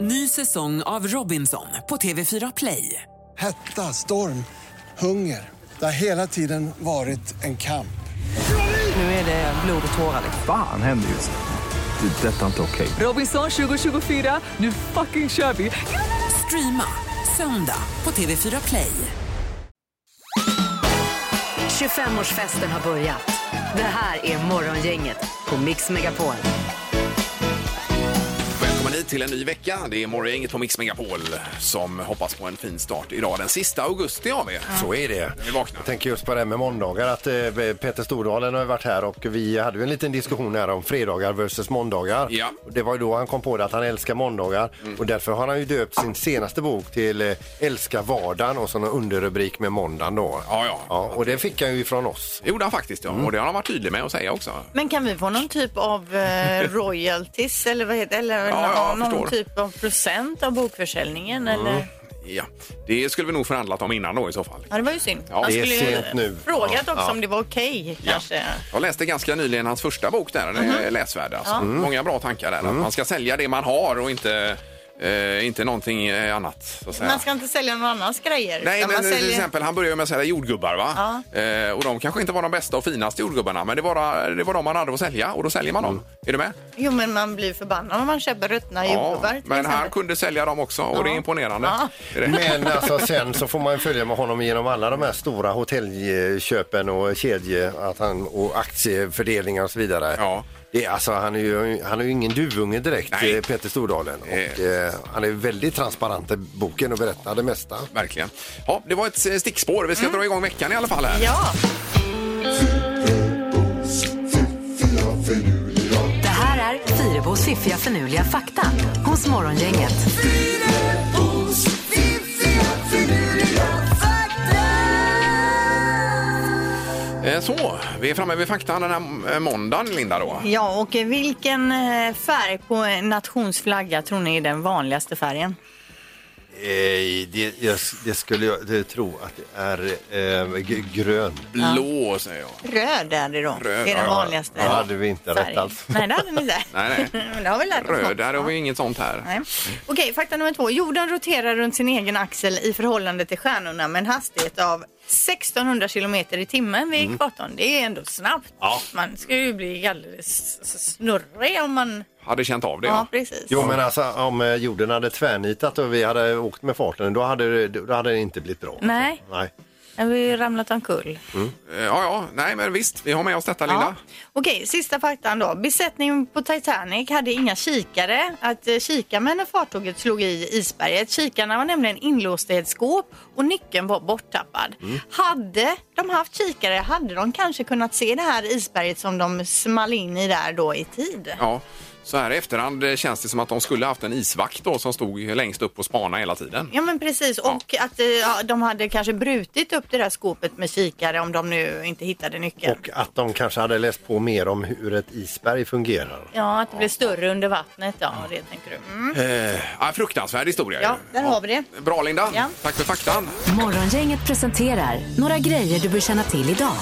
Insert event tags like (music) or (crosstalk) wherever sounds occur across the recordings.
Ny säsong av Robinson på TV4 Play. Hetta, storm, hunger. Det har hela tiden varit en kamp. Nu är det blod och tårar. liksom. Fan händer just nu. Det. är Detta är inte okej. Robinson 2024, nu fucking kör vi! Streama söndag på TV4 Play. 25-årsfesten har börjat. Det här är Morgongänget på Mix Megapol. Välkommen hit till en ny vecka. Det är morgongänget på Mix Megapol som hoppas på en fin start idag. Den sista augusti har vi. Så är det. Vi vaknar. Jag tänker just på det här med måndagar, att eh, Peter Stordalen har ju varit här och vi hade ju en liten diskussion här om fredagar versus måndagar. Ja. Mm. Och Det var ju då han kom på det att han älskar måndagar och därför har han ju döpt sin senaste bok till eh, Älska vardagen och så en underrubrik med måndagen då. Ja, ja. och det fick han ju från oss. Det gjorde han faktiskt, Mm. ja. Och det har han varit tydlig med att säga också. Men kan vi få någon typ av eh, (laughs) royalties eller vad heter eller Ja, ja, jag någon förstår. Mm. typ av procent av bokförsäljningen eller? Ja. Det skulle vi nog förhandlat om innan då i så fall. Ja, det var ju synd. Ja, Han det är skulle ju sent nu. frågat Ja, också ja. om det var okej kanske. Jag läste ganska nyligen hans första bok där, den Mhm. är läsvärd. Alltså. Många bra tankar där. Mm. Att man ska sälja det man har och inte, eh, inte någonting eh, annat. Så att säga. Man ska inte sälja någon annans grejer. Nej, utan men man till säljer... exempel han började med att sälja jordgubbar va? Eh, och de kanske inte var de bästa och finaste jordgubbarna men det var, det var de man hade att sälja och då säljer man dem. Mm. Är du med? Jo, men man blir förbannad om man köper ruttna jordgubbar. till men han exempel. kunde sälja dem också och det är imponerande. Ja. Det är det. Men alltså sen så får man ju följa med honom genom alla de här stora hotellköpen och kedje att han, och aktiefördelningar och så vidare. Ja. Det, är- alltså, han, är ju, han är ju ingen duvunge direkt, Nej. eh, Peter Stordalen. Och, Eh. eh, han är väldigt transparent i boken och berättar det mesta. Verkligen. Ja, det var ett eh, stickspår. Vi ska dra igång veckan i alla fall. Här. Mm. Ja, Det här är Fyrabos fiffiga förnuliga fakta hos Morgongänget. Eh, Så, vi är framme vid fakta den här eh, måndagen, Linda. Då. ja, och eh, vilken eh, färg på en nationsflagga tror ni är den vanligaste färgen? Eh, det, skulle jag tro att det är eh, grön. Blå, säger jag. Röd är det då. Röd, det är den ja. vanligaste. Det hade vi inte rätt färgen. alls. Nej, det hade ni inte. alltså. (laughs) Nej, nej. (laughs) Men det har vi lärt oss Röd, något. där har vi ju inget sånt här. Nej. Okej, fakta nummer två. Jorden roterar runt sin egen axel i förhållande till stjärnorna med en hastighet av 1600 kilometer i timmen vid ekvatorn. Det är ändå snabbt. Man ska ju bli alldeles snurrig om man... Hade känt av det, Ja, ja. precis. (laughs) Jo, men alltså om eh, jorden hade tvärnitat och vi hade åkt med farten, då hade, det- då hade det inte blivit bra. Nej. Nej. Jag har ju ramlat omkull. Eh, ja, ja. Nej, men visst. Vi har med oss detta, Linda. Okej, sista faktan då. Besättningen på Titanic hade inga kikare att eh, kika med när fartyget slog i isberget. Kikarna var nämligen inlåsta i ett skåp och nyckeln var borttappad. Hade de haft kikare hade de kanske kunnat se det här isberget som de small in i där då i tid. Ja. Så här i efterhand eh, känns det som att de skulle haft en isvakt då, som stod längst upp och spanade hela tiden. Ja men precis och att eh, ja, de hade kanske brutit upp det där skåpet med kikare om de nu inte hittade nyckeln. Och att de kanske hade läst på mer om hur ett isberg fungerar. Ja, att det blev större under vattnet. Ja, det tänker du. Mm. Eh, Ja, fruktansvärd historia. Ja, ju. där har vi det. Bra, Linda. Ja. Tack för faktan. Morgongänget presenterar några grejer du bör känna till idag.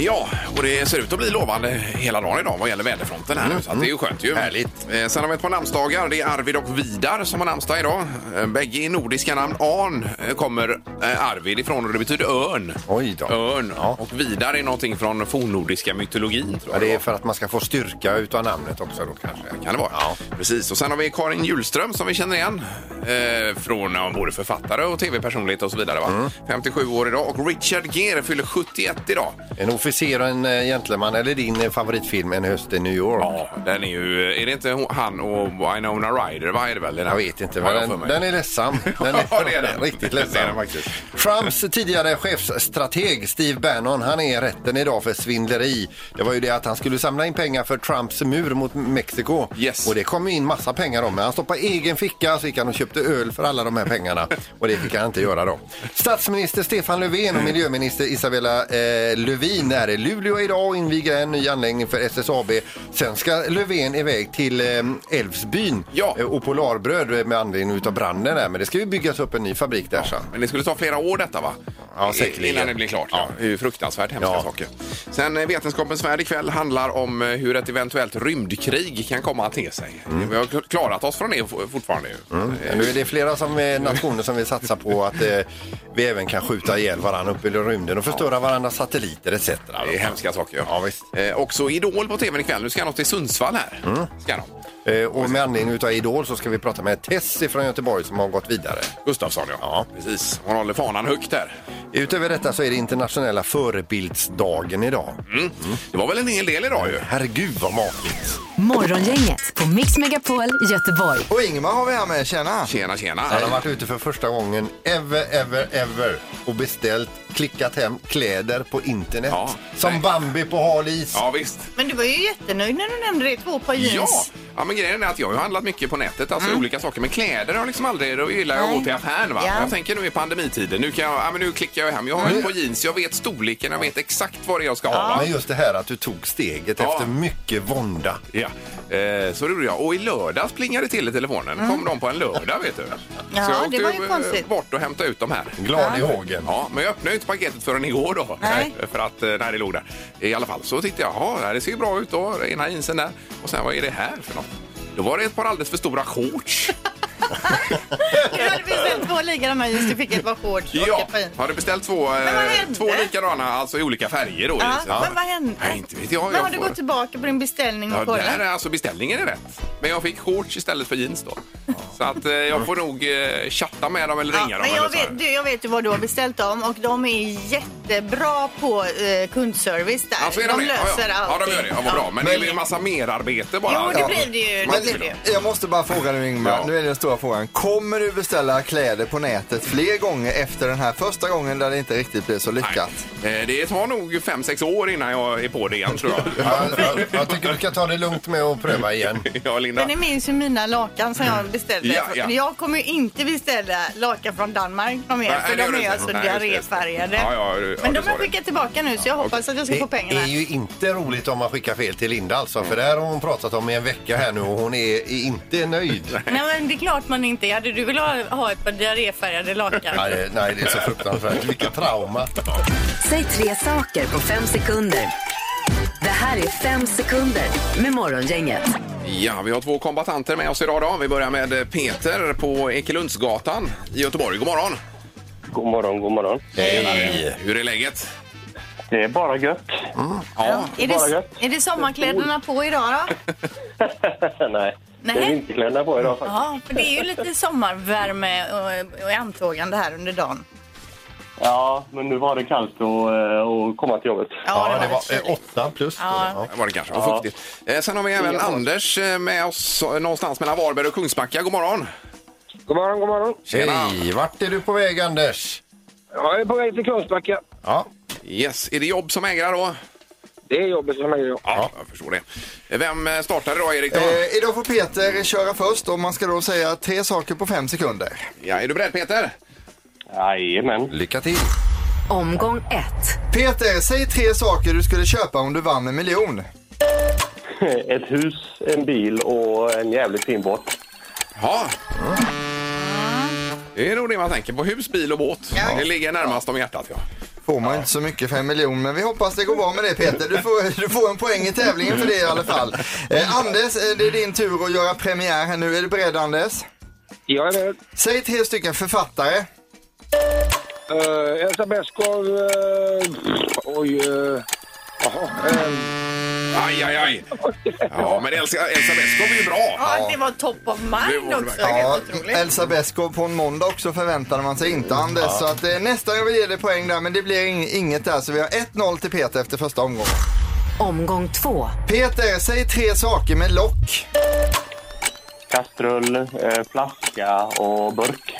Ja, och det ser ut att bli lovande hela dagen idag vad gäller väderfronten här nu. Så att det är ju skönt ju. Härligt. Eh, sen har vi ett par namnsdagar. Det är Arvid och Vidar som har namnsdag idag. Eh, bägge i nordiska namn. Arn eh, kommer eh, Arvid ifrån och det betyder örn. Oj då. Örn. Ja. Och Vidar är någonting från fornnordiska mytologin. Tror Ja, jag det är var. för att man ska få styrka utav namnet också då kanske. Kan det vara. Precis. Och sen har vi Karin Julström som vi känner igen. Eh, från ja, både författare och tv-personlighet och så vidare. Va? Mm. 57 år idag. Och Richard Gere fyller 71 idag. En officer och en eh, gentleman, eller din eh, favoritfilm En höst i New York? Ja, den är ju... Är det inte hon- han och Winona Ryder? Vad är det väl? Den Jag vet inte, Har jag men för den, mig. den är ledsam. Den Ja, det är den. Riktigt Det är ledsam. den faktiskt. Trumps tidigare chefsstrateg Steve Bannon, han är i rätten idag för svindleri. Det var ju det att han skulle samla in pengar för Trumps mur mot Mexiko. Yes. Och det kom ju in massa pengar om. Men han stoppade egen ficka så gick han och köpte öl för alla de här pengarna. och det fick han inte göra då. Statsminister Stefan Löfven och miljöminister Isabella eh, Lövin är i Luleå idag och inviger en ny anläggning för SSAB. Sen ska Löfven iväg till eh, Älvsbyn Ja. Eh, och Polarbröd med anledning utav branden där. Men det ska ju byggas upp en ny fabrik där sen. Men det skulle ta flera år detta va? Ja, i- säkerligen. innan det blir klart. Ja. Det är ju fruktansvärt hemska Ja. saker. Sen eh, Vetenskapens värld ikväll handlar om eh, hur ett eventuellt rymdkrig kan komma att te sig. Mm. Vi har kl- klarat oss från det f- fortfarande. ju. Eh, Nu är det flera som, eh, nationer som vill satsa på att eh, vi även kan skjuta ihjäl varandra uppe i rymden och förstöra varandras satelliter etc. Det är hemska saker. Ja, visst. Eh, också Idol på tv ikväll. Nu ska de till Sundsvall här. Mm. Ska de. Eh, Och med anledning utav Idol så ska vi prata med Tess från Göteborg som har gått vidare. Gustafsson, ja. Ja. Precis. Hon håller fanan högt där. Utöver detta så är det internationella förebildsdagen idag. Mm. Det var väl en hel del idag ju. Herregud vad matigt! Morgongänget på Mix Megapol Göteborg. Och Ingmar har vi här med, tjena! Tjena, tjena. Han har varit ute för första gången ever, ever, ever och beställt, klickat hem kläder på internet. Ja, som nej. Bambi på hal is. Ja, visst. Men du var ju jättenöjd när du nämnde det, två par jeans. Ja. ja, men grejen är att jag har ju handlat mycket på nätet, alltså olika saker. Men kläder har jag liksom aldrig, då gillar jag att gå till affären va. Mm. Ja. Mm. Jag tänker nu i pandemitiden, nu, kan jag, ja, men nu klickar jag hem. Jag har ju på jeans, jag vet storleken, jag vet exakt vad det är jag ska ha. Va? Men just det här att du tog steget Ja. efter mycket vånda. Ja, eh, så det gjorde jag. Och i lördags plingade det till i telefonen. kom de på en lördag vet du. Mm. Ja, så jag det var ju eh, konstigt. bort och hämtade ut de här. Glad i hågen. Ja, men jag öppnade ju inte paketet förrän igår då. Nej. (laughs) För att, eh, när det låg där. I alla fall så tittade jag, ja det ser ju bra ut då, ena jeansen där. Och sen, vad är det här för något? Då var det ett par alldeles för stora shorts. Du hade beställt två likadana jeans, du fick ett par shorts och Ja, ett par jeans. har du beställt två, eh, Men vad hände? två likadana, alltså i olika färger då? i Ja, jeansen? men vad hände? Nej, inte vet jag. Men jag har du får- gått tillbaka på din beställning och Ja, där kollat? är alltså beställningen är rätt. Men jag fick shorts istället för jeans då. Så att eh, jag får nog eh, chatta med dem eller Ja, ringa dem. men eller jag, så här. vet, du, jag vet ju vad du har beställt dem och de är jättebra på eh, kundservice där. Alltså, är de det? ja, löser ja. ja, de allting. gör det. Ja, vad bra. Men det är väl en massa merarbete bara. Jo, det Ja. blir det ju. Man Det blir vill- det ju. Jag måste bara fråga nu Ingmar, Ja. nu är det den stora frågan. Kommer du beställa kläder på nätet fler gånger efter den här första gången där det inte riktigt blev så lyckat? Nej. Eh, Det tar nog fem sex år innan jag är på det igen tror jag. Ja, jag, jag tycker du kan ta det lugnt med att pröva igen. ja, Linda. Men ni minns ju mina lakan som jag beställde. Ja, ja. Jag kommer ju inte beställa lakan från Danmark de mer, Nej, för det gör de du är inte. alltså Nej, just det. diarréfärgade. Ja, ja, du- ja, Men du de sa har det. skickat tillbaka nu så jag hoppas att jag ska Det få pengarna. är ju inte roligt om man skickar fel till Linda alltså, för det här har hon pratat om i en vecka här nu och hon är, är inte nöjd. Nej men det är klart man inte är. Hade du velat ha, ha ett par diarréfärgade lakan? Nej, det- nej, det är så fruktansvärt. Vilket trauma. Säg tre saker på fem sekunder. Det här är fem sekunder med Morgongänget. Ja, vi har två kombatanter med oss idag. Då. Vi börjar med Peter på Ekelundsgatan i Göteborg. God morgon! God morgon, god morgon. Hej! Hur är läget? Det är bara gött. (laughs) Ja, Är Bara det, gött. är det sommarkläderna på idag då? Nej, det Nej. är vinterkläderna på idag faktiskt. Ja, för det är ju lite sommarvärme och, och antågande här under dagen. Ja, men nu var det kallt och, eh, och komma till jobbet. Ja, det det var var lite eh, åtta plus. Ja. var det kanske. Och fuktigt. Eh, Sen har vi även Anders eh, med oss eh, någonstans mellan Varberg och Kungsbacka. God morgon! God morgon, god morgon. Tjena. Hej! Vart är du på väg Anders? Jag är på väg till Kungsbacka. Ja, Yes, är det jobb som ägrar då? Det är jobbet som jag gör. Ja, jag förstår det. Eh, Vem eh, startar idag, Erik? Då? Eh, idag får Peter köra först och man ska då säga tre saker på fem sekunder. Ja, är du beredd, Peter? Jajamän. (laughs) lycka till. Omgång ett. Peter, säg tre saker du skulle köpa om du vann en miljon. Ett hus, en bil och en jävligt fin båt. Ja. Det är nog det man tänker på. Hus, bil och båt. Det ligger närmast om hjärtat. Ja. Får man inte så mycket för en miljon, men vi hoppas det går bra med det Peter. Du får, du får en poäng i tävlingen för det i alla fall. Eh, Anders, eh, det är din tur att göra premiär här nu. Är du beredd Anders? Jag är beredd. Säg tre stycken författare. Uh, Elsa Beskow... eh, oj... eh, Jaha. eh, Aj, aj, aj. Ja, men Elsa, Elsa Beskow är ju bra. Ja, det var top of Det mind var det också. verkligen. Helt Ja, otroligt. Elsa Beskow på en måndag också förväntade man sig inte Anders. Så att, eh, nästan jag vill ge dig poäng där, men det blir ing- inget där. Så vi har 1-0 till Peter efter första omgången. Omgång två. Peter, säg tre saker med lock. Kastrull, eh, flaska och burk.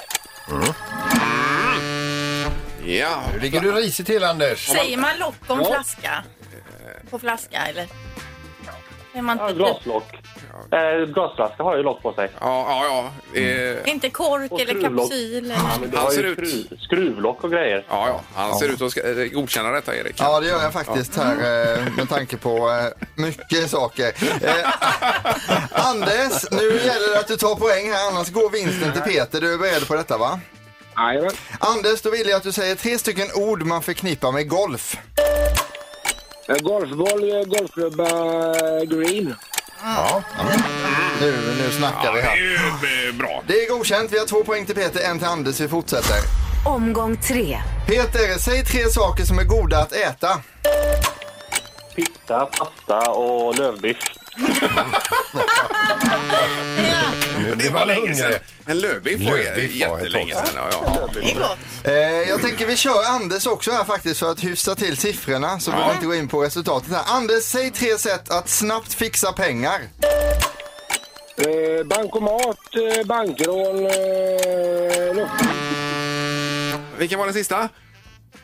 Ja. Nu ligger du risigt till Anders. Säger man lock om flaska? På flaska eller? Är man Ja, inte, glaslock. Eh, glasflaska har ju lock på sig. Ja, ja, ja. Eh, inte kork Och eller skruvlock. kapsyl? Ja, Eller? men du Han har ser ju ut- skruv, skruvlock och grejer. Ja, ja. Han ser ut att ska, eh, godkänna detta, Erik. Ja, det gör jag faktiskt här eh, med tanke på eh, mycket saker. Eh, (laughs) Anders, nu gäller det att du tar poäng här annars går vinsten till Peter. Du är beredd på detta va? Jajamän. Anders, då vill jag att du säger tre stycken ord man förknippar med golf. Eh, Golfboll, eh, golfklubba, eh, green. Ja. Nu, nu snackar vi Det är här. ju eh, bra. Det är godkänt. Vi har två poäng till Peter, en till Anders. Vi fortsätter. Omgång tre. Peter, säg tre saker som är goda att äta. Pitta, pasta och lövbiff. Det var länge sedan. En lövbiff var Lövbiff ju var ett jättelänge tag sedan. Ja, ja. Det är gott. Eh, jag tänker vi kör Anders också här faktiskt för att hyfsa till siffrorna så behöver vi inte gå in på resultatet här. Anders, säg tre sätt att snabbt fixa pengar. Eh, Bankomat, eh, bankrån, eh, lot- Vilken var den sista?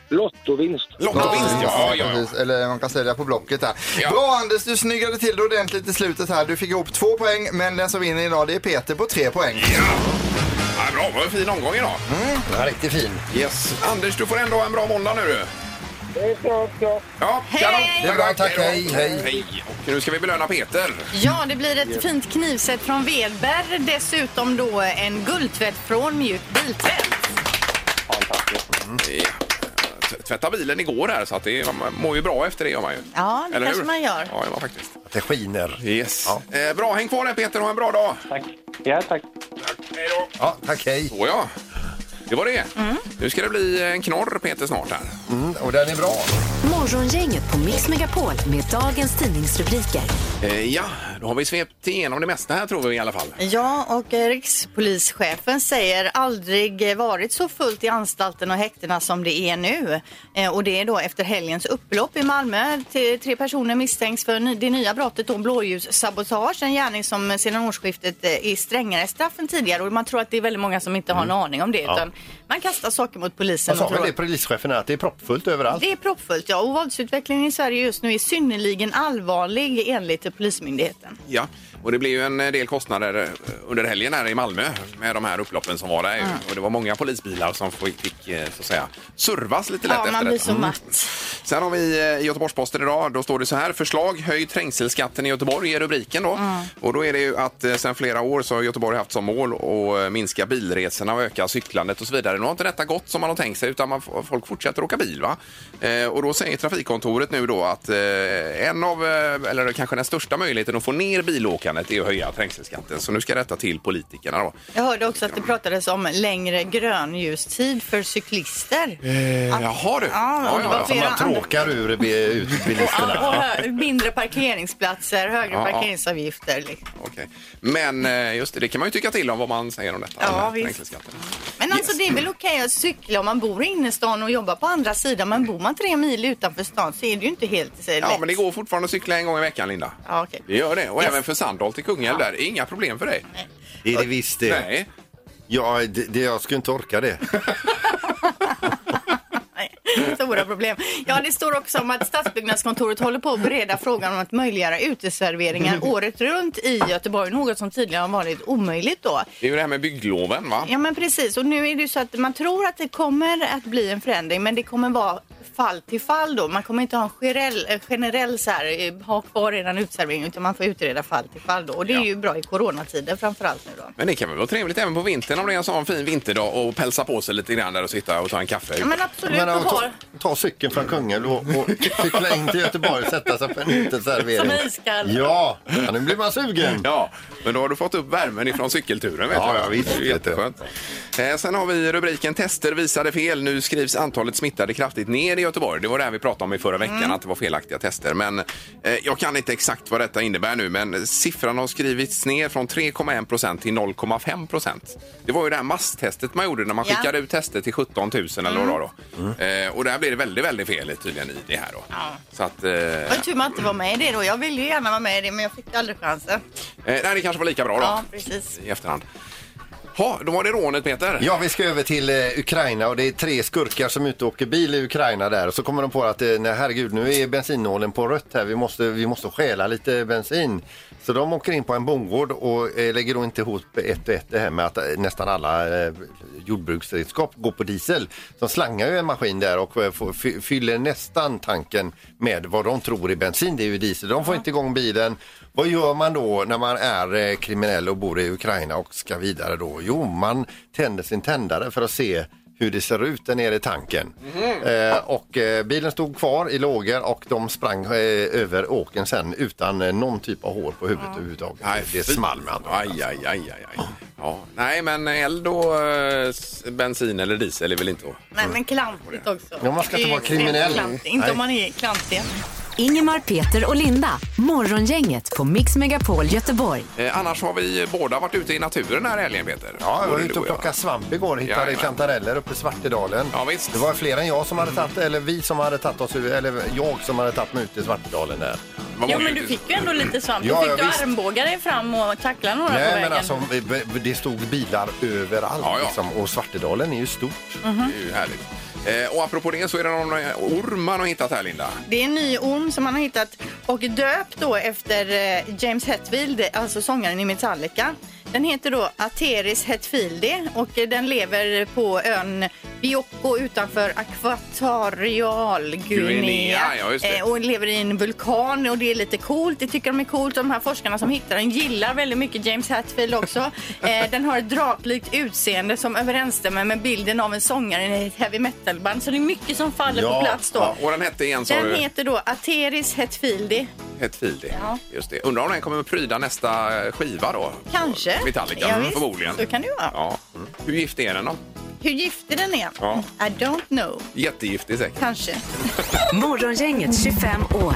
lottovinst. Lottovinst, ja. ja, ja. Precis, Eller man kan sälja på Blocket där. Ja. Bra Anders, du snyggade till det ordentligt i slutet här. Du fick ihop två poäng men den som vinner idag det är Peter på tre poäng. ja bra, vad en fin omgång idag. Den Mm, var riktigt fin. Yes. Anders, du får ändå ha en bra måndag nu. du. Det är klart, klart. Ja, kanon. Det är bra, tack. då. Hej, hej. Och nu ska vi belöna Peter. Ja, det blir ett fint knivset från Velberg. Dessutom då en guldtvätt från Mjuk Biltvätt. Ja. T- Tvätta bilen igår här så att det man mår ju bra efter det gör man ju. Ja, det kanske man gör. Ja, ja, faktiskt. Att det skiner. Yes. Ja. Eh, bra, häng kvar där Peter och ha en bra dag. Tack. Ja, tack. Hej då. Ja, tack, hej. Så ja. Det var det. Mm. Nu ska det bli en knorr Peter snart här. Mm, och den är bra. Morgongänget på Mix Megapol med dagens tidningsrubriker. Eh, ja, då har vi svept igenom det mesta här tror vi i alla fall. Ja, och eh, rikspolischefen säger aldrig eh, varit så fullt i anstalten och häktena som det är nu. Eh, Och det är då efter helgens upplopp i Malmö. T- Tre personer misstänks för ny- det nya brottet om blåljussabotage, en gärning som eh, sedan årsskiftet eh, är strängare straff än tidigare. Och man tror att det är väldigt många som inte har en aning om det, utan man kastar saker mot polisen. Vad sa och tror- väl det polischefen här, att det är proppfullt överallt? det är proppfullt, ja. Och våldsutvecklingen i Sverige just nu är synnerligen allvarlig enligt eh, Polismyndigheten. Ja, och det blev ju en del kostnader eh, under helgen här i Malmö med de här upploppen som var där. ju. Mm. Och det var många polisbilar som fick, fick eh, så att säga, servas lite lätt Ja, efter man Mm. blir detta. så matt. Sen har vi eh, i Göteborgs-Posten idag, då står det så här. Förslag höj trängselskatten i Göteborg är rubriken då. Mm. Och då är det ju att eh, sedan flera år så har Göteborg haft som mål att eh, minska bilresorna och öka cyklandet och så vidare. Nu har inte detta gått som man har tänkt sig utan man, f- folk fortsätter åka bil va. Eh, och då säger trafikkontoret nu då att eh, en av, eh, eller kanske den största möjligheten att få ner bilåkandet är att höja trängselskatten. Så nu ska detta till politikerna då. Jag hörde också att det pratades om längre grönljustid för cyklister. Eh, jaha du. Ja, och det var Som flera man andra- tråkar ur bi- eh, ut bilisterna. Och, och hö- mindre parkeringsplatser, högre Ja, ja. parkeringsavgifter. liksom. Okej. Men eh, just det, det kan man ju tycka till om vad man säger om detta. Ja, den här visst. trängselskatten. Men alltså det är väl okej att cykla om man bor i innerstan och jobbar på andra sidan. Men bor man tre mil utanför stan så är det ju inte helt eh, lätt. Ja, men det går fortfarande att cykla en gång i veckan, Linda. Ja, okej. Det gör det. Och Yes. även för Sandholt till Kungälv där. Inga problem för dig. Det är det visst det. Nej. Ja, det, det. Jag skulle inte orka det. Nej, (laughs) Stora problem. Ja, det står också om att Stadsbyggnadskontoret håller på att bereda frågan om att (laughs) möjliggöra uteserveringar året runt i Göteborg. Något som tidigare har varit omöjligt då. Det är ju det här med byggloven, va? Ja men precis och nu är det ju så att man tror att det kommer att bli en förändring men det kommer vara fall till fall då. Man kommer inte ha en generell, eh, generell så här, eh, ha kvar redan utservering utan man får utreda fall till fall då. Och det är Ja. ju bra i coronatider framförallt nu då. Men det kan väl vara trevligt även på vintern om det är en sån fin vinterdag och pälsa på sig lite grann där och sitta och ta en kaffe. Ja, men absolut, (laughs) Men och att ta, har ta cykeln från Kungälv och, och cykla in till Göteborg och sätta sig (laughs) på en som uteservering. iskall. Ja, ja, nu blir man sugen. Ja, men då har du fått upp värmen ifrån cykelturen. Vet Mm. Ja, jag. ja, visst, Det är ju vet jag. Jätteskönt. Eh, sen har vi rubriken Tester visade fel. Nu skrivs antalet smittade kraftigt ner i Göteborg. Det var det här vi pratade om i förra veckan, Mm. att det var felaktiga tester. Men eh, jag kan inte exakt vad detta innebär nu, men siffran har skrivits ner från 3,1 procent till 0,5 procent. Det var ju det här masstestet man gjorde när man Ja. skickade ut tester till 17 000 eller vad det var då. Mm. Eh, och där blev det väldigt, väldigt fel tydligen i det här då. Så att, eh, Det var ju tur man inte var med i det då. Jag ville ju gärna vara med i det men jag fick aldrig chansen. eh, nej, det kanske var lika bra då Ja precis. i efterhand. Ja, då var det rånet Peter. Ja, vi ska över till eh, Ukraina och det är tre skurkar som är ute och åker bil i Ukraina där och så kommer de på att eh, nej, herregud nu är bensinnålen på rött här, vi måste, vi måste stjäla lite bensin. Så de åker in på en bondgård och eh, lägger då inte ihop ett och ett det här med att eh, nästan alla eh, jordbruksredskap går på diesel. De slangar ju en maskin där och eh, får- fy- fyller nästan tanken med vad de tror är bensin, det är ju diesel. De får inte igång bilen. Vad gör man då när man är eh, kriminell och bor i Ukraina och ska vidare då? Jo, man tänder sin tändare för att se hur det ser ut där nere i tanken. Mhm. Eh, och eh, bilen stod kvar i lågor och de sprang eh, över åken sen utan eh, någon typ av hår på huvudet överhuvudtaget. det small med andra ord, aj, alltså. aj, aj, aj, aj. Ja, Nej, men eld och eh, s- bensin eller diesel är väl inte att... Nej, men klantigt också. Ja, man ska inte Det är vara kriminell. klantigt. Inte Nej. om man är klantig. Ingemar, Peter och Linda. Morgongänget på Mix Megapol Göteborg. Eh, annars har vi båda varit ute i naturen här helgen, Peter. Ja, jag var Både ute du och jag. plockade svamp igår. Hittade Jajamän. kantareller uppe i Svartedalen. Ja, visst. Det var fler än jag som hade tagit, eller vi som hade tagit oss ur, eller jag som hade tagit mig ut i Svartedalen där. Vad Ja, var men det? du fick ju ändå lite svamp. Ja, Ja, fick ja, du visst. armbåga dig fram och tackla några på Nej, vägen? men alltså vi- vi- det stod bilar överallt Ja, Mm. ja. Liksom, och Svartedalen är ju stort. Mm-hmm. Det är ju härligt. Eh, och apropå det så är det någon eh, orm man har hittat här, Linda. Det är en ny orm som man har hittat och döpt då efter eh, James Hetfield, alltså sångaren i Metallica. Den heter då Ateris hetfieldi och eh, den lever på ön Bioko utanför Guinea, Akvatorialguinea. ja, just det. Eh, och lever i en vulkan och det är lite coolt. Det tycker de är coolt. De här forskarna som hittar den gillar väldigt mycket James (laughs) Hetfield också. Eh, den har ett draplikt utseende som överensstämmer med bilden av en sångare i ett heavy metal-band. Så det är mycket som faller Ja, på plats då. Ja, och den hette igen, sa Den du? heter då Ateris Hetfieldi. Hetfieldi. Ja. Just det. Undrar om den kommer att pryda nästa eh, skiva då? Kanske. Metallica, Mm, Ja, visst. förmodligen. Så kan det ju vara. Ja. Mm. Hur giftig är den då? Hur giftig den är? Ja. I don't know. Jättegiftig säkert. Kanske. Morgongänget 25 år.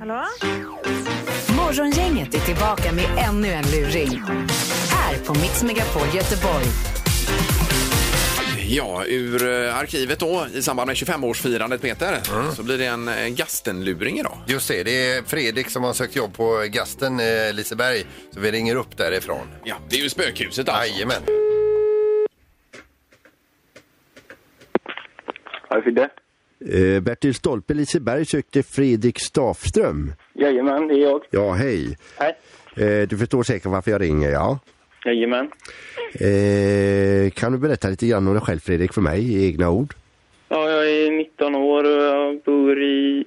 Hallå? Morgongänget är tillbaka med ännu en luring. Här på Mix Megapol Göteborg. Ja, ur eh, arkivet då i samband med 25-årsfirandet Peter så blir det en eh, Gastenluring idag. Just det, det är Fredrik som har sökt jobb på Gasten, eh, Liseberg. Så vi ringer upp därifrån. Ja, det är ju spökhuset alltså. Jajamän. Ja, Fidde. Eh, Bertil Stolpe, Liseberg sökte Fredrik Stafström. Jajamän, det är jag. Ja, hej. Hej. Eh, du förstår säkert varför jag ringer, ja. Jajamän. Eh, kan du berätta lite grann om dig själv, Fredrik, för mig i egna ord? Ja, jag är 19 år och jag bor i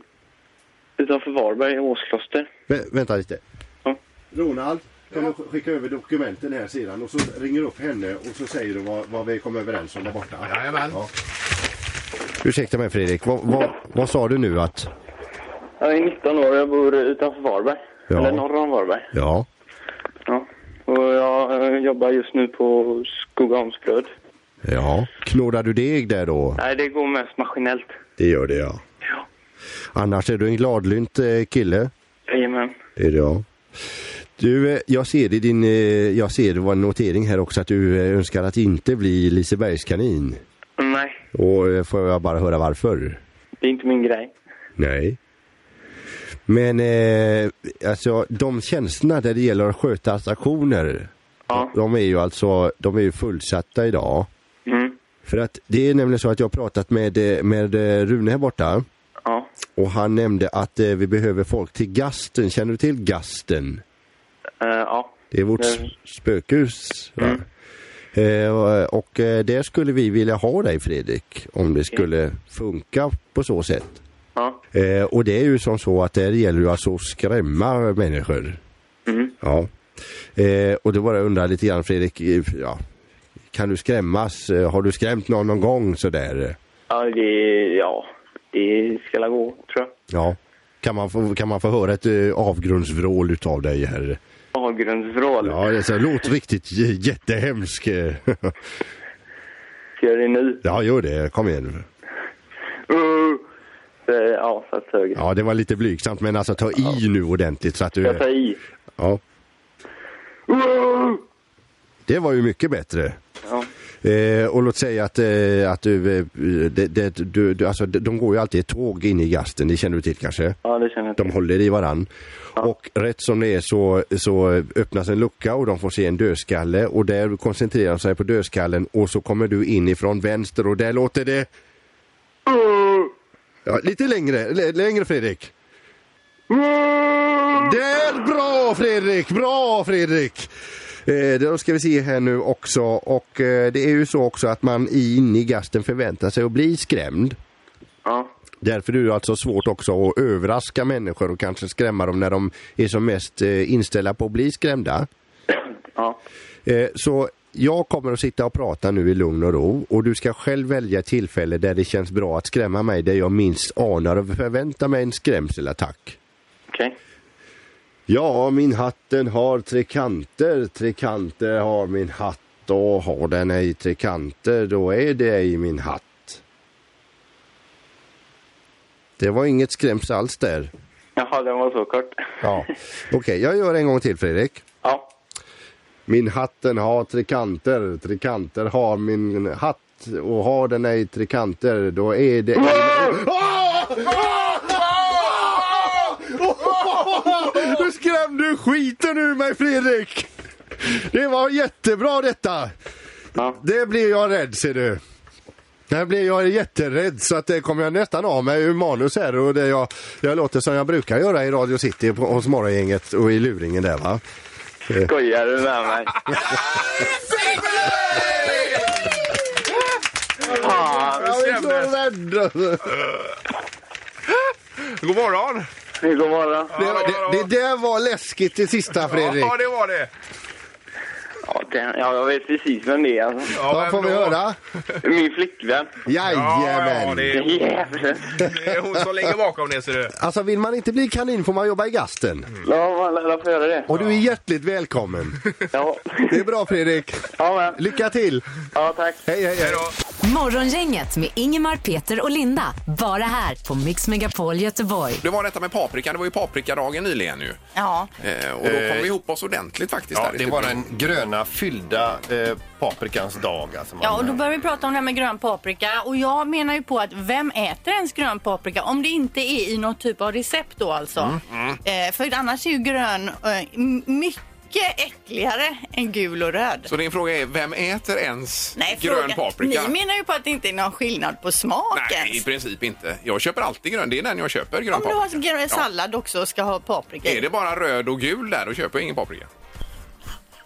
utanför Varberg, Åskloster. Vä- vänta lite. Ja. Ronald, kan du skicka över dokumenten här sedan och så ringer upp henne och så säger du vad, vi kom överens om där borta. Jajamän. Ja. Ursäkta mig, Fredrik. Vad, vad, vad sa du nu att... Jag är 19 år och jag bor utanför Varberg. Ja. Eller norr om Varberg. Ja, Ja. Och jag eh, jobbar just nu på Skogaholmsbröd. ja. Knådar du deg där då? Nej, det går mest maskinellt. Det gör det, ja. Ja. Annars är du en gladlynt eh, kille. Jajamän. Det är det, ja. Du, eh, jag ser i din, eh, jag ser det var en notering här också att du eh, önskar att inte bli Lisebergskanin. Nej, Och eh, får jag bara höra varför? det är inte min grej. Nej. Men eh, alltså de tjänsterna där det gäller att sköta attraktioner, Ja. de är ju alltså, de är ju fullsatta idag. Mm. För att det är nämligen så att jag har pratat med, eh, med eh, Rune här borta Ja. och han nämnde att eh, vi behöver folk till Gasten. Känner du till Gasten? Eh, ja. Det är vårt Mm. sp- spökhus. va? Eh, och, och eh, där skulle vi vilja ha dig Fredrik, om det skulle funka på så sätt. Ja. Eh, och det är ju som så att där gäller ju alltså att skrämma människor. Mm. Ja. Eh, och då bara undrar lite grann Fredrik, eh, ja, kan du skrämmas? Eh, Har du skrämt någon någon gång sådär? Ja, det, ja. det ska la gå, tror jag. Ja. Kan man få, kan man få höra ett eh, avgrundsvrål utav dig här? Avgrundsvrål. Ja, det är så, låt riktigt j- jättehemsk. eh. Ska jag göra det nu? Ja, gör det. Kom igen. nu. Uh. Eh, Ja, så att höger. Ja, det var lite blygsamt, men alltså ta i nu ordentligt så att du... Jag tar i. Ja, Uh. det var ju mycket bättre. Ja. Eh, och låt säga att, eh, att du, eh, det, det, du, du alltså, de- de går ju alltid i tåg inne i gasten, det känner du till kanske? ja, det känner jag De håller i varann. Och rätt som det är så, så öppnas en lucka och de får se en dödskalle och där koncentrerar de sig på dödskallen och så kommer du inifrån vänster och där låter det... Ja, lite längre, L- längre Fredrik. Där, bra Fredrik, bra Fredrik! Eh, då ska vi se här nu också och eh, det är ju så också att man i- inne i gasten förväntar sig att bli skrämd. Ja. Därför är det alltså svårt också att överraska människor och kanske skrämma dem när de är som mest eh, inställda på att bli skrämda. Ja. Eh, Så jag kommer att sitta och prata nu i lugn och ro och du ska själv välja ett tillfälle där det känns bra att skrämma mig där jag minst anar och förväntar mig en skrämselattack. Okej. Ja, min hatten har tre kanter, tre kanter har min hatt och har den ej tre kanter då är det ej min hatt. Det var inget skräms alls där. Jaha, den var så kort. Ja. (laughs) Okej, jag gör en gång till Fredrik. Ja. Min hatten har tre kanter, tre kanter har min hatt och har den ej tre kanter då är det... Du skrämde skiten ur mig Fredrik! Det var jättebra detta! Det blir jag rädd ser du. Där blir jag jätterädd så att det kommer jag nästan av mig ur manus här och det jag, jag låter som jag brukar göra i Radio City på, hos Morgongänget och i luringen där va. Eh, Skojar du med mig? Fan, jag är så rädd alltså. God morgon! God morgon. Det, det, det där var läskigt det sista Fredrik. Ja, det var det. Ja, den, ja, jag vet precis vem det är. Alltså. Ja, Vad får vi höra? Min flickvän. Jajamän! Ja, det, är, Jävlar. det är hon som ligger bakom det ser du. Alltså vill man inte bli kanin får man jobba i gasten. Ja, man lär få göra det. Och du är hjärtligt välkommen. Ja, Det är bra Fredrik. ja, men. Lycka till! ja tack. Hej, hej, hej. Morgongänget med Ingemar, Peter och Linda. Bara här på Mix Megapol Göteborg. Det var detta med paprika, det var ju paprikadagen nyligen ju. Ja. Eh, och då kom vi ihop oss ordentligt faktiskt. Ja, där i det var studion. den gröna fyllda eh, paprikans dag. Alltså man, Ja, och då börjar vi prata om det här med grön paprika. Och jag menar ju på att vem äter ens grön paprika? Om det inte är i något typ av recept då alltså. Mm. Eh, för annars är ju grön eh, m- mycket äckligare än gul och röd. Så din fråga är, vem äter ens Nej, grön fråga. paprika? Ni menar ju på att det inte är någon skillnad på smak Nej, i ens. princip inte. Jag köper alltid grön, det är den jag köper, grön Om du har paprika. grön sallad också och ska ha paprika i. Är det bara röd och gul där, då köper jag ingen paprika. (laughs)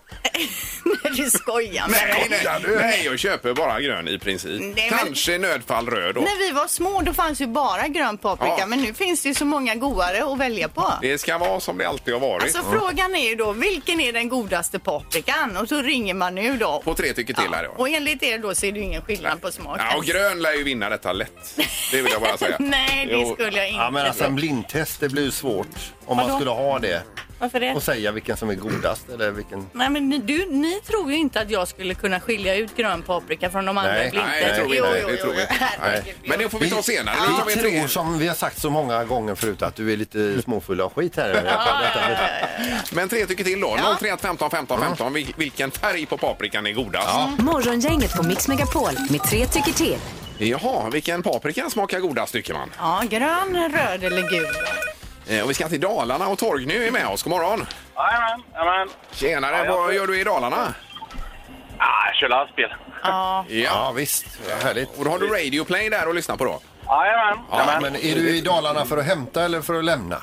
du skojar med Nej, mig. nej, nej, jag köper bara grön i princip. Nej, men- Kanske i nödfall röd då. När vi var små då fanns ju bara grön paprika Ja. men nu finns det ju så många godare att välja på. Det ska vara som det alltid har varit. Alltså frågan är ju då vilken är den godaste paprikan? Och så ringer man nu då. På tre tycker till här ja. då. Och enligt er då så är det ju ingen skillnad på smaken. Ja, och grön lär ju vinna detta lätt. Det vill jag bara säga. (laughs) Nej, det Jo. skulle jag inte. ja, men alltså en blindtest det blir ju svårt om man Vadå? skulle ha det Varför det? och säga vilken som är godast eller vilken... Nej, men ni, du, ni tror ju inte att jag skulle kunna skilja ut grön paprika från de andra Nej, Nej, det tror vi Jo, inte. jo, Det jo. tror vi inte. Herregud. Men det får vi ta senare. Nu tar Vi vi tror tre. som vi har sagt så många gånger förut att du är lite småfull av skit här. Men tre tycker till då. 031 15 15 15. Vil- Vilken färg på paprikan är godast? Morgongänget på Mix Megapol med tre tycker till. Jaha, vilken paprika smakar godast tycker man? Ja, grön, röd eller gul. Eh, Och vi ska till Dalarna och Torgny är med oss. God morgon! Jajamän, jajamän. Tjenare, Ja, jag- vad gör du i Dalarna? Ah, jag kör lastbil. Ja. Ja. Ja visst, vad härligt. Och då har du Radio Play där och lyssnar på då? Jajamän. Ja, men är du i Dalarna för att hämta eller för att lämna?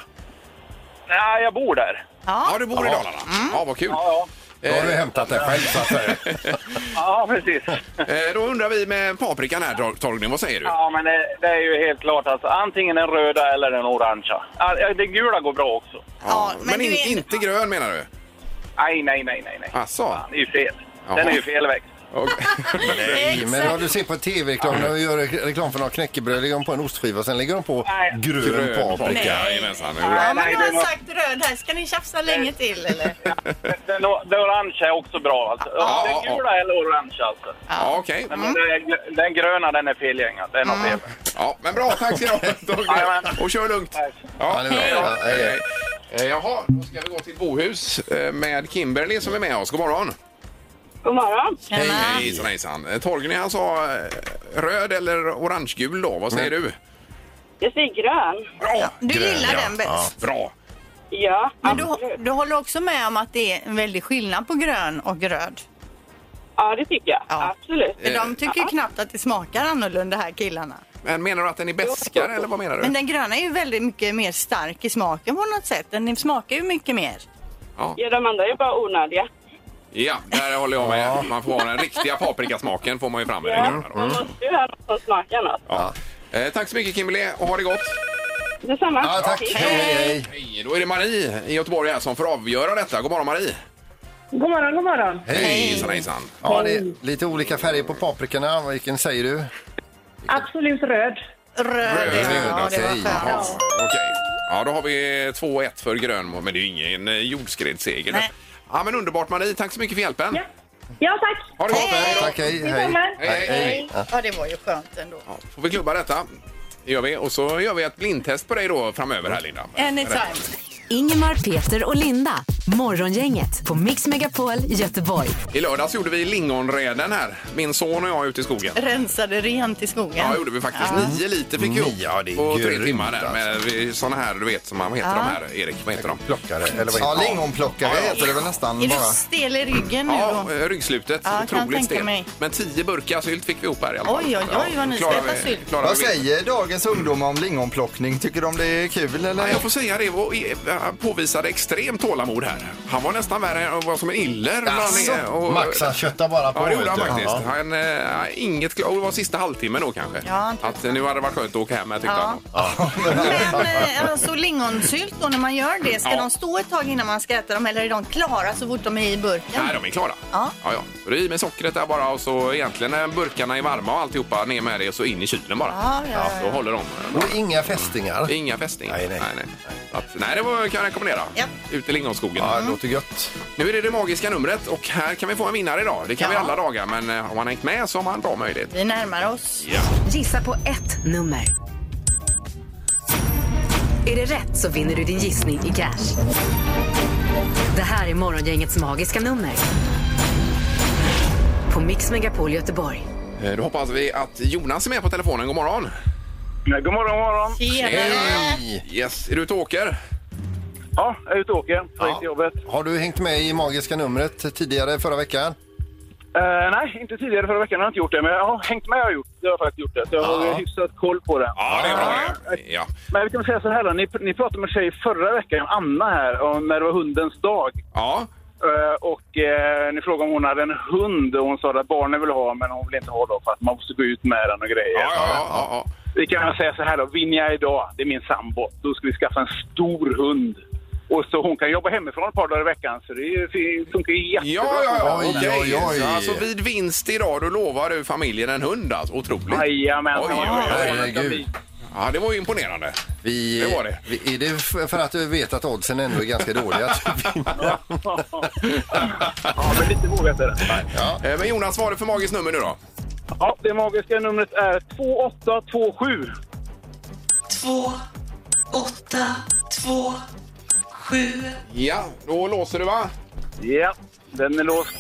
Ja, jag bor där. Ja, du bor i Dalarna. Ja, vad kul. Ja, Då har du hämtat dig själv så att säga. ja. ja precis. Eh, Då undrar vi med paprikan här Tor- Torgny, vad säger du? Ja, men det, det är ju helt klart. Alltså, antingen den röda eller den orangea. Ja, ja, det gula går bra också. Ja, men men du in, är- inte grön menar du? Nej, nej, nej, nej. nej. Asså? Det är ju fel. Ja. Den är ju felväxt. Okej. Nej, men vad du ser på tv-reklam när vi gör re- reklam för några knäckebröd, lägger de på en ostskiva och sen lägger de på Nej. grön, Grön paprika. paprika. Jajamensan. Jo, Ja, men nej, du det har var- sagt röd här. Ska ni tjafsa länge till eller? Den, o- den orangea är också bra alltså. Ja, ja, den ja. gula eller orangea alltså. Ja, okej. Men den, den gröna, den är felgängad. Den har fel. Ja, men bra. Tack ska du ha. Torgny. Jajamän. Och kör lugnt. Tack. Ja, det är bra. Ja, hej, hej. Eh, Jaha, då ska vi gå till Bohus eh, med Kimberly som är med oss. God morgon! God morgon. Hej! Hejsan, hejsan. Eh, Torgny han sa eh, röd eller orangegul då. Vad säger du? Jag säger grön. Bra! Du Grön, gillar ja. den bäst. Ja. Bra! Ja, Men du, absolut. du håller också med om att det är en väldig skillnad på grön och röd? Ja, det tycker jag. Ja. Absolut. För de tycker ju knappt att det smakar annorlunda här killarna. Men menar du att den är beskare eller vad menar Men du? den gröna är ju väldigt mycket mer stark i smaken på något sätt. Den smakar ju mycket mer. Ja, de andra är bara onödiga. Ja, där håller jag med. Man får ha den riktiga paprikasmaken får man ju fram med den Ja, gröna man Mm. då. måste ju ha något som smakar något. Mm. Ja. Eh, Tack så mycket Kimberly och ha det gott! Detsamma. Ja, tack. Hej, hej. Hej, då är det Marie i Göteborg här som får avgöra detta. God morgon Marie! God morgon, god morgon. Hej, hejsan, hejsan. Ja, det är lite olika färger på paprikorna. Vilken säger du? Absolut röd. Röd, ja, det var skönt. Jaha, Okej. Ja, då har vi 2-1 för Grönmo, men det är ju ingen eh, jordskredsseger. Nej. Ja, men underbart Marie, tack så mycket för hjälpen. Ja, tack. Ha det gott, hej då. Tack, hej, hej. Detsamma. Hej, hej. Ja. Ja, det var ju skönt ändå. Får vi klubba detta? Det gör vi. Och så gör vi ett blindtest på dig då framöver här Linda. Anytime. Ingemar, Peter och Linda. Morgongänget på Mix Megapol Göteborg. I lördags gjorde vi lingonräden här. Min son och jag ute i skogen. Rensade rent i skogen. Ja, gjorde vi faktiskt. Ja. Nio liter fick vi ihop Ja, det är på tre grymt, timmar där. Med eh, såna här, du vet, som man vad heter alltså. Ja. de här, Erik, vad heter de? Plockare, eller vad heter Ja, de? lingonplockare heter det väl nästan Är du bara. stel i ryggen nu Ja, då? eh, ryggslutet. Ja, kan jag Otroligt tänka stelt. mig. Men tio burkar sylt fick vi ihop här i alla fall. Oj, oj, oj, vad ni ska Klarar vi- äta sylt. klarar Vad vi- säger dagens ungdomar om lingonplockning? Tycker de det är kul eller? Ja, jag får säga det, och, eh, han påvisade extremt tålamod här. Han var nästan värre än vad som en iller. Jaså? Han, eh, och- Max, han köttar bara på. Ja, det gjorde vet han du. faktiskt. Ja. Han, eh, inget, kla- och det var sista halvtimmen då kanske. Ja, han att eh, nu hade det varit skönt att åka hem, jag tyckte Ja. han. Men eh, alltså lingonsylt då när man gör det, ska Ja. de stå ett tag innan man ska äta dem eller är de klara så fort de är i burken? Nej, de är klara. Ja. Ja, ja. Så det är i med sockret där bara och så egentligen när burkarna är varma och alltihopa ner med det och så in i kylen bara. Ja, ja, ja. Då håller de. (laughs) Och inga fästingar. Inga fästingar. Nej, nej. nej, Att, nej det var, kan jag rekommendera. Ja. Ut i lingonskogen. Mm. Ja, det låter gött. Nu är det det magiska numret och här kan vi få en vinnare idag. Det kan vi alla dagar men eh, om man hängt med så har man bra möjlighet. Vi närmar oss. Ja. Gissa på ett nummer. Är det rätt så vinner du din gissning i cash. Det här är Morgongängets magiska nummer. På Mix Megapol Göteborg. Eh, Då hoppas vi att Jonas är med på telefonen. God morgon! God morgon, god morgon. Hej! Yes, är du ute och åker? Ja, jag är ute och åker. På väg Ja. till jobbet. Har du hängt med i magiska numret tidigare förra veckan? Eh, nej, inte tidigare förra veckan har jag inte gjort det. Men jag har hängt med jag har gjort. Jag har faktiskt gjort det. Så jag har Ja. hyfsat koll på det. Ja, det är bra det. Ja. Men vi kan väl säga så här då. Ni, ni pratade med en tjej förra veckan, Anna här, om när det var hundens dag. ja. Eh, och eh, ni frågade om hon hade en hund och hon sa att barnen vill ha men hon vill inte ha då för att man måste gå ut med den och grejer. Ja, ja, ja, ja, ja. Vi kan väl säga så här då, vinner jag idag, det är min sambo, då ska vi skaffa en stor hund. Och så hon kan jobba hemifrån ett par dagar i veckan, så det är- det funkar ju jättebra. Ja, ja, ja. Oj, okej. oj, oj. Så Alltså vid vinst idag, då lovar du familjen en hund alltså. Otroligt. Jajamän. Oj, oj, oj. Herregud. Ja, det var ju imponerande. Vi, Det var det. Vi, är det f- för att du vet att oddsen ändå är ganska dåliga? (laughs) att du vinner? Ja, men lite vågat är det. ja. Eh, Men Jonas, vad är det för magiskt nummer nu då? Ja, det magiska numret är 2827. Två, åtta, två, sju. Ja, då låser du va? Ja, den är låst.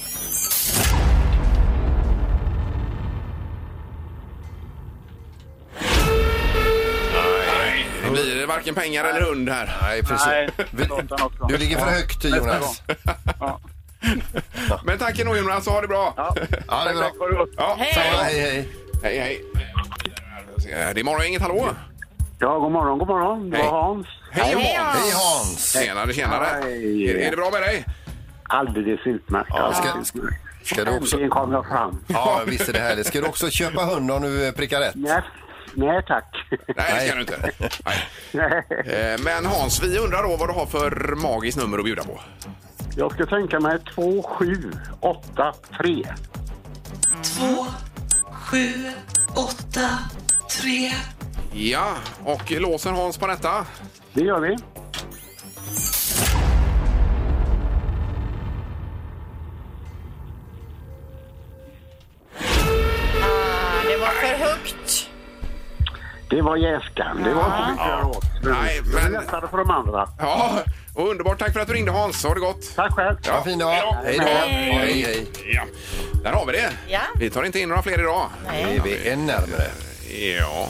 Nej. Det blir varken pengar eller hund här. Nej, (laughs) Nej, precis. det låter han också. Du ligger för högt Jonas. Men tack ändå Jonas, ha det bra. Ja, Ja, det är bra. tack, tack. Ha det gott. Ja, Ja, hej, hej. hej, hej. Eh, Det är morgon, inget hallå? Ja, god morgon, god morgon. Det Hej. var Hans. Hej Hans! Hej Hans! Tjenare, tjenare. Hej. Är, är det bra med dig? Alldeles utmärkt. alltså. Ja, ska, ska du också... Äntligen kom jag fram. Ja, visst är det härligt. Ska du också köpa hund om du eh, prickar rätt? Nej, nej tack. (laughs) Nej, det Nej. ska du inte. Nej. Eh, Men Hans, vi undrar då vad du har för magiskt nummer att bjuda på. Jag ska tänka mig 2783. Två, sju, åtta, tre. Ja, och låser Hans på detta? Det gör vi. Ah, det var för högt. Det var jäskan. Det var inte mycket jag åt. Men Nej, Det var men- lättare för de andra. Ja, och underbart. Tack för att du ringde Hans. Ha det gott. Tack själv. Ha en fin dag. Hej då. Hej, hej. Ja, där har vi det. Ja. Vi tar inte in några fler idag. Är vi en närmare? Ja.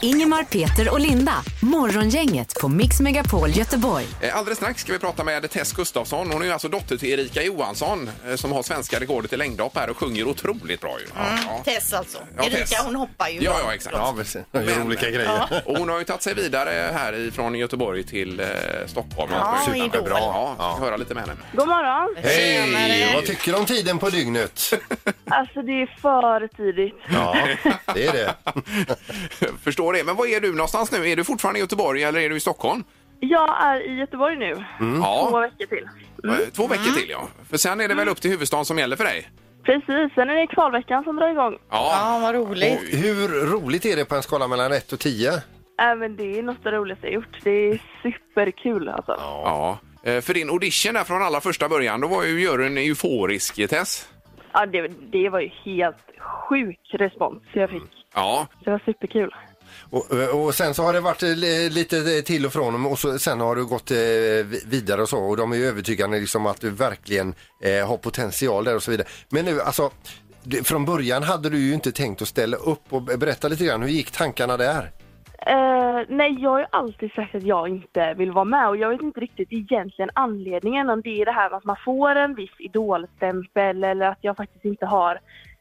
Ingemar, Peter och Linda. Morgongänget på Mix Megapol Göteborg. Eh, Alldeles strax ska vi prata med Tess Gustafsson. Hon är ju alltså dotter till Erika Johansson eh, som har svenska rekordet i längdhopp här och sjunger otroligt bra ju. Ja. Tess alltså. Ja, Erika Tess. hon hoppar ju. Ja, då. ja, exakt. Ja, precis. De gör Men- olika grejer. Och hon har ju tagit sig vidare här från Göteborg till eh, Stockholm. Ja, Super- i Idol. bra. Ja, ja. Höra lite med henne. God morgon. Hej! Vad tycker du om tiden på dygnet? Alltså det är för tidigt. Ja, det är det. (laughs) Förstår det. Men var är du någonstans nu? Är du fortfarande i Göteborg eller är du i Stockholm? Jag är i Göteborg nu. Ja. Två veckor till. Eh, Två veckor till ja. För sen är det väl upp till huvudstaden som gäller för dig? Precis, sen är det kvalveckan som drar igång. Ja, vad roligt. Och hur roligt är det på en skala mellan 1 och 10? Äh, men det är något av det roligaste jag gjort. Det är superkul alltså. Ja. Eh, För din audition där från allra första början, då var ju juryn euforisk, Tess. Ja, det, det var ju helt sjuk respons jag fick. Ja. Det var superkul. Och, och sen så har det varit eh, lite till och från och så, sen har du gått eh, vi- vidare och så och de är ju övertygande liksom att du verkligen eh, har potential där och så vidare. Men nu alltså, det- från början hade du ju inte tänkt att ställa upp och berätta lite grann, hur gick tankarna där? Eh, nej, jag har ju alltid sagt att jag inte vill vara med och jag vet inte riktigt egentligen anledningen om det är det här med att man får en viss idolstämpel eller att jag faktiskt inte har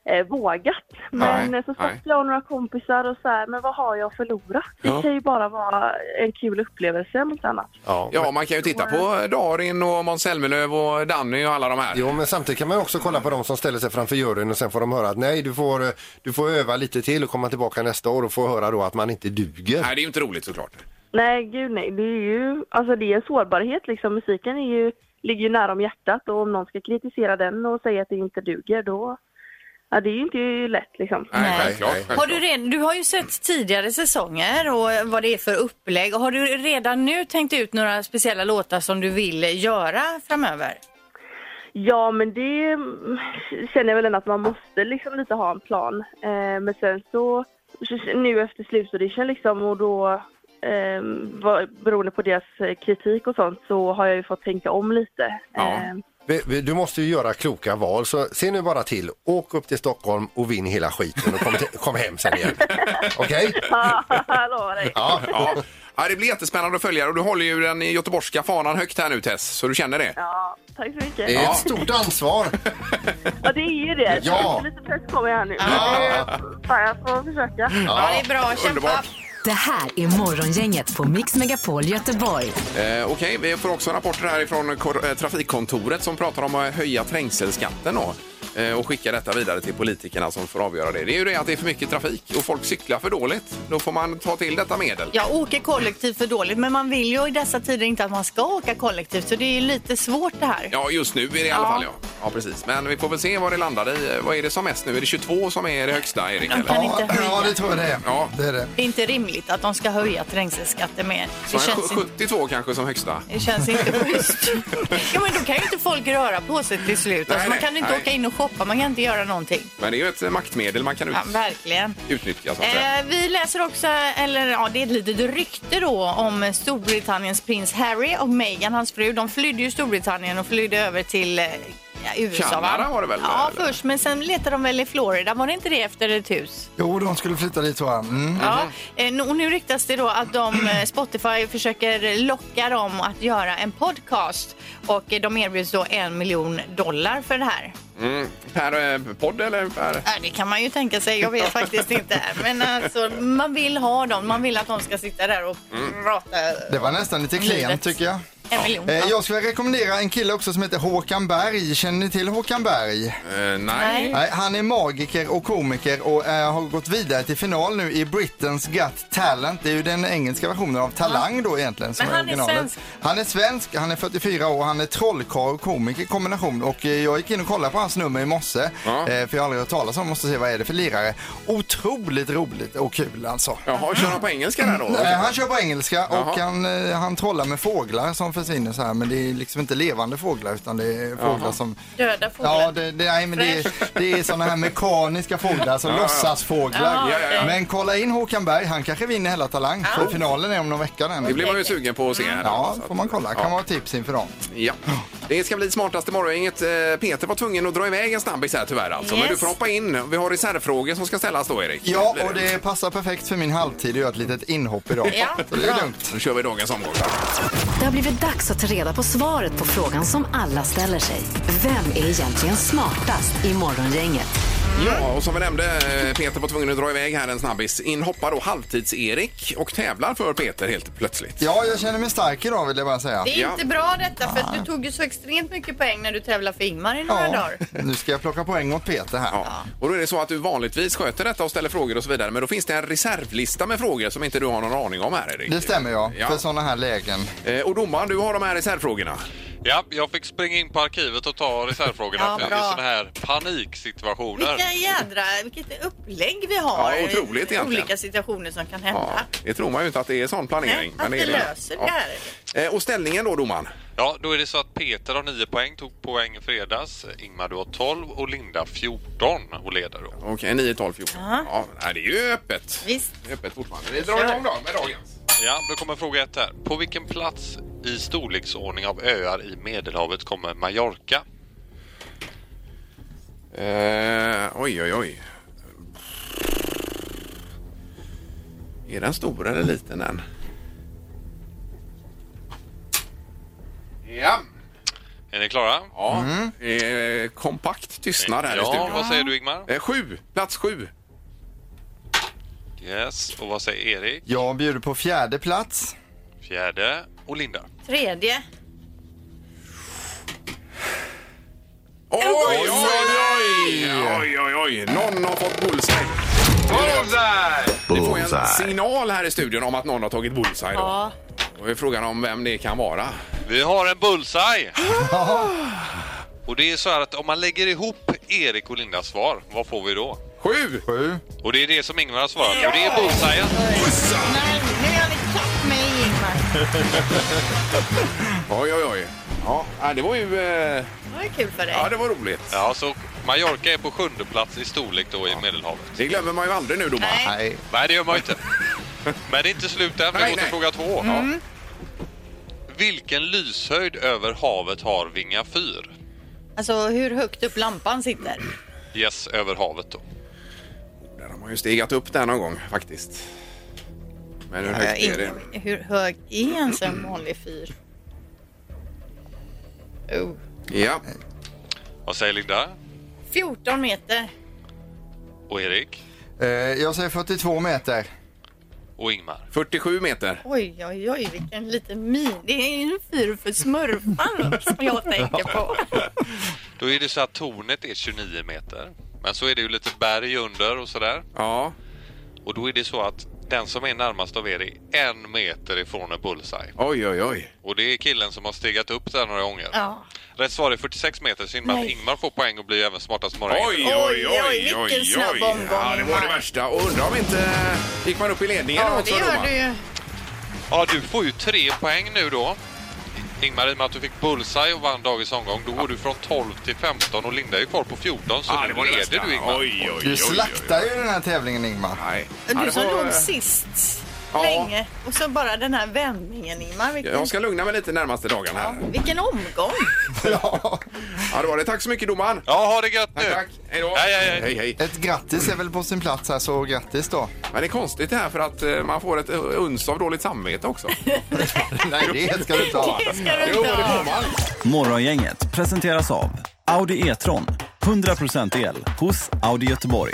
eh, vågat. Men Nej, eh, så nej. satt jag och några kompisar och så här, men vad har jag att förlora? Det Ja. kan ju bara vara en kul upplevelse om inte annat. Ja, man kan ju titta på Darin och Måns Zelmerlöw och Danny och alla de här. Jo, men samtidigt kan man ju också kolla på de som ställer sig framför juryn och sen får de höra att nej, du får, eh, du får öva lite till och komma tillbaka nästa år och få höra då att man inte duger. Nej, det är ju inte roligt såklart. Nej, gud nej. Det är ju alltså det är en sårbarhet liksom. Musiken är ju, ligger ju nära om hjärtat och om någon ska kritisera den och säga att det inte duger då, ja det är ju inte lätt liksom. Har du, redan, du har ju sett tidigare säsonger och vad det är för upplägg. Har du redan nu tänkt ut några speciella låtar som du vill göra framöver? Ja, men det mm, känner jag väl ändå att man måste liksom lite ha en plan. Eh, men sen så, så- nu efter slutaudition liksom och då eh, vad- beroende på deras eh, kritik och sånt så har jag ju fått tänka om lite. Eh, (laughs) Vi- vi- Du måste ju göra kloka val, så se nu bara till. Åk upp till Stockholm och vinn hela skiten och kom, till, kom hem (laughs) sen igen. Okej? Ja, jag lovar dig. Ja. ja. det blir jättespännande att följa och du håller ju den göteborgska fanan högt här nu Tess, så du känner det. Ja, tack så mycket. Det är ett stort ansvar. ja, det är ju det. Ja. Lite press kommer jag här nu. Men, Fan, jag får försöka. Ja, det är bra. Kämpa. underbart. Det här är Morgongänget på Mix Megapol Göteborg. Eh, Okej, vi får också rapporter härifrån kor- eh, Trafikkontoret som pratar om att höja trängselskatten då, eh, och skicka detta vidare till politikerna som får avgöra det. Det är ju det att det är för mycket trafik och folk cyklar för dåligt. Då får man ta till detta medel. Jag åker kollektivt för dåligt, men man vill ju i dessa tider inte att man ska åka kollektivt, så det är ju lite svårt det här. Ja, just nu är det i alla Ja. fall ja. Ja, precis. Men vi får väl se vad det landar i. eh, Vad är det som mest nu? Är det 22 som är det högsta, Erik? Eller? kan inte höja. det tror jag det är. Ja. Det är det. Det är inte rimligt att de ska höja trängselskatten mer. Så Det en känns, inte, 72 kanske som högsta. det känns inte schysst. (laughs) ja, men då kan ju inte folk röra på sig till slut. Nej, Alltså, man nej, kan ju inte nej. åka in och shoppa, man kan inte göra någonting. Men det är ju ett eh, maktmedel man kan ut, Ja, verkligen. utnyttja. Så att säga. Eh, vi läser också, eller ja, det är ett litet rykte då om Storbritanniens prins Harry och Meghan, hans fru. De flydde ju Storbritannien och flydde över till eh, ja, USA. Kanada var det väl, Ja, eller? först. Men sen letade de väl i Florida. Var det inte det efter ett hus? Jo, de skulle flytta dit tror jag. Mm. Ja, eh, nu- och nu ryktas det då att de, eh, Spotify försöker locka dem att göra en podcast och eh, de erbjuds då en miljon dollar för det här. Mm. Per eh, podd eller per... Ja, det kan man ju tänka sig. Jag vet faktiskt inte. Men alltså, man vill ha dem. Man vill att de ska sitta där och prata. Det var nästan lite klent tycker jag. En miljon. Eh, jag skulle rekommendera en kille också som heter Håkan Berg. Känner ni till Håkan Berg? Eh, nej. Nej, han är magiker och komiker och eh, har gått vidare till final nu i Britain's Got Talent. Det är ju den engelska versionen av Talang då egentligen. Som Men han är originalet. svensk. Han är svensk, han är 44 år, han är trollkarl och komiker i kombination. Och eh, jag gick in och kollade på hans nummer i morse. Eh, för jag har aldrig hört talas om, måste se vad är det för lirare. Otroligt roligt och kul alltså. Jaha, kör han på engelska där då? Nej, han kör på engelska och Jaha. han, eh, han trollar med fåglar som försvinner så här men det är liksom inte levande fåglar utan det är fåglar Jaha. som Döda fåglar. Ja, det, det, nej, men det, det är sådana här mekaniska fåglar, alltså Ja, ja. Ja, låtsasfåglar. ja, ja. Men kolla in Håkan Berg, han kanske vinner hela Talang, för finalen är om någon vecka. Den. Det blir man ju sugen på att se. Här Ja, Så att- får man kolla. Kan Ja. vara tips inför dem. Ja. Det ska bli smartaste morgongänget. Eh, Peter var tvungen att dra iväg en snabbis här tyvärr alltså. Men Yes. du får hoppa in. Vi har reservfrågor som ska ställas då Erik. Ja, Blir och det passar perfekt för min halvtid att göra ett litet inhopp idag. Ja. Så det är lugnt. Nu kör vi dagens omgång. Det har blivit dags att ta reda på svaret på frågan som alla ställer sig. Vem är egentligen smartast i Morgongänget? Ja, och som vi nämnde, eh, Peter var tvungen att dra iväg här en snabbis. In hoppar då halvtids-Erik och tävlar för Peter helt plötsligt. Ja, jag känner mig stark idag vill jag bara säga. Det är inte bra detta för att du tog ju så extremt mycket poäng när du tävlade för Ingmar i några dagar. Nu ska jag plocka poäng åt Peter här. Och då är det så att du vanligtvis sköter detta och ställer frågor och så vidare. Men då finns det en reservlista med frågor som inte du har någon aning om här Erik. Det stämmer ja, Ja. för sådana här lägen. Eh, Och domaren, du har de här reservfrågorna. Ja, jag fick springa in på arkivet och ta reservfrågorna Ja, för det bra. är sådana här paniksituationer. Vilka jädra, vilket upplägg vi har. Ja, otroligt egentligen. Olika situationer som kan Ja, hända. det tror man ju inte att det är sån planering. att det vi är löser det här. Ja. Eh, Och ställningen då, domaren? Ja, då är det så att Peter har 9 poäng, tog poäng i fredags. Ingmar du har 12 och Linda 14 och leder då. Okej, 9, 12, 14. Ja, nej, det är ju öppet. Visst. Det är öppet fortfarande. Vi drar igång då med dagens. Ja, då kommer fråga ett här. På vilken plats i storleksordning av öar i Medelhavet kommer Mallorca? Eh, oj, oj, oj. Är den stor eller liten den? Ja. Är ni klara? Ja. Eh, kompakt tystnad här i Ja, studion. vad säger du, Ingmar? Eh, sju, plats sju. Yes, och vad säger Erik? Jag bjuder på fjärde plats. Fjärde och Linda. Tredje. Oj, oj, oj! Oj, oj, oj. Någon har fått bullseye. Vi får ju en signal här i studion om att någon har tagit bullseye. Då. Och är frågan om vem det kan vara. Vi har en bullseye! och det är så här att om man lägger ihop Erik och Lindas svar, vad får vi då? Sju! Sju. Och det är det som Ingvar har svarat och det är bullseyen. Nej, nu har ni tagit mig Ingmar. Oj, oj, oj. Ja, nej, det var ju... Eh... Det var ju kul för dig. Ja, det var roligt. Ja, så Mallorca är på sjunde plats i storlek då i Medelhavet. Det glömmer man ju aldrig nu, domaren. Nej. Nej, det gör man ju inte. Men det är inte slut än, vi Nej, går till nej. fråga två. Mm. Vilken lyshöjd över havet har Vinga fyr? Alltså hur högt upp lampan sitter. Yes, över havet då. Där har man ju stegat upp där någon gång faktiskt. Men hur högt är det? Ingen- Hur hög är ens en vanlig fyr? Oh. Ja. Vad säger Linda 14 meter. och Erik Eh, Jag säger 42 meter. och Ingmar? 47 meter. Oj, oj, oj, vilken liten min. Det är ju en fyr för smurfar som (laughs) jag tänker på. Då är det så att tornet är 29 meter. Men så är det ju lite berg under och sådär. Ja. Och då är det så att den som är närmast av er är en meter ifrån en bullseye. Oj, oj, oj. Och det är killen som har stegat upp där några gånger. Ja. Rätt svar är 46 meter, så innebär att Nej. Ingmar får poäng och blir även smartast morgon. Oj, oj, oj, oj, vilken snabb omgång, Ja, det var det värsta. Och undrar om inte... Gick man upp i ledningen Ja, det också, gör domaren? du ju. Ja, du får ju tre poäng nu då. Ingmar, i och med att du fick bullseye och vann dagens omgång, då går du från 12 till 15 och Linda är kvar på 14, så Ja, det nu var det leder värsta. du Ingmar. Oj, oj, Du slaktar ju den här tävlingen Ingmar. Nej. Du som låg sist Ja. länge. Och så bara den här vändningen, Ingmar. Vilken, Jag ska lugna mig lite närmaste dagarna här. vilken omgång. Ja, det var det. Tack så mycket, domaren. Ja, ha det gött nu. Tack, tack. Hej då. Hej, hej, hej. hej. Ett grattis är väl på sin plats här, så grattis då. Men det är konstigt det här för att eh, man får ett eh, uns av dåligt samvete (laughs) också. Nej, det ska du inte ha. Det ska du Jo, inte det får ha. man. Morgongänget presenteras av Audi E-tron. 100% el hos Audi Göteborg.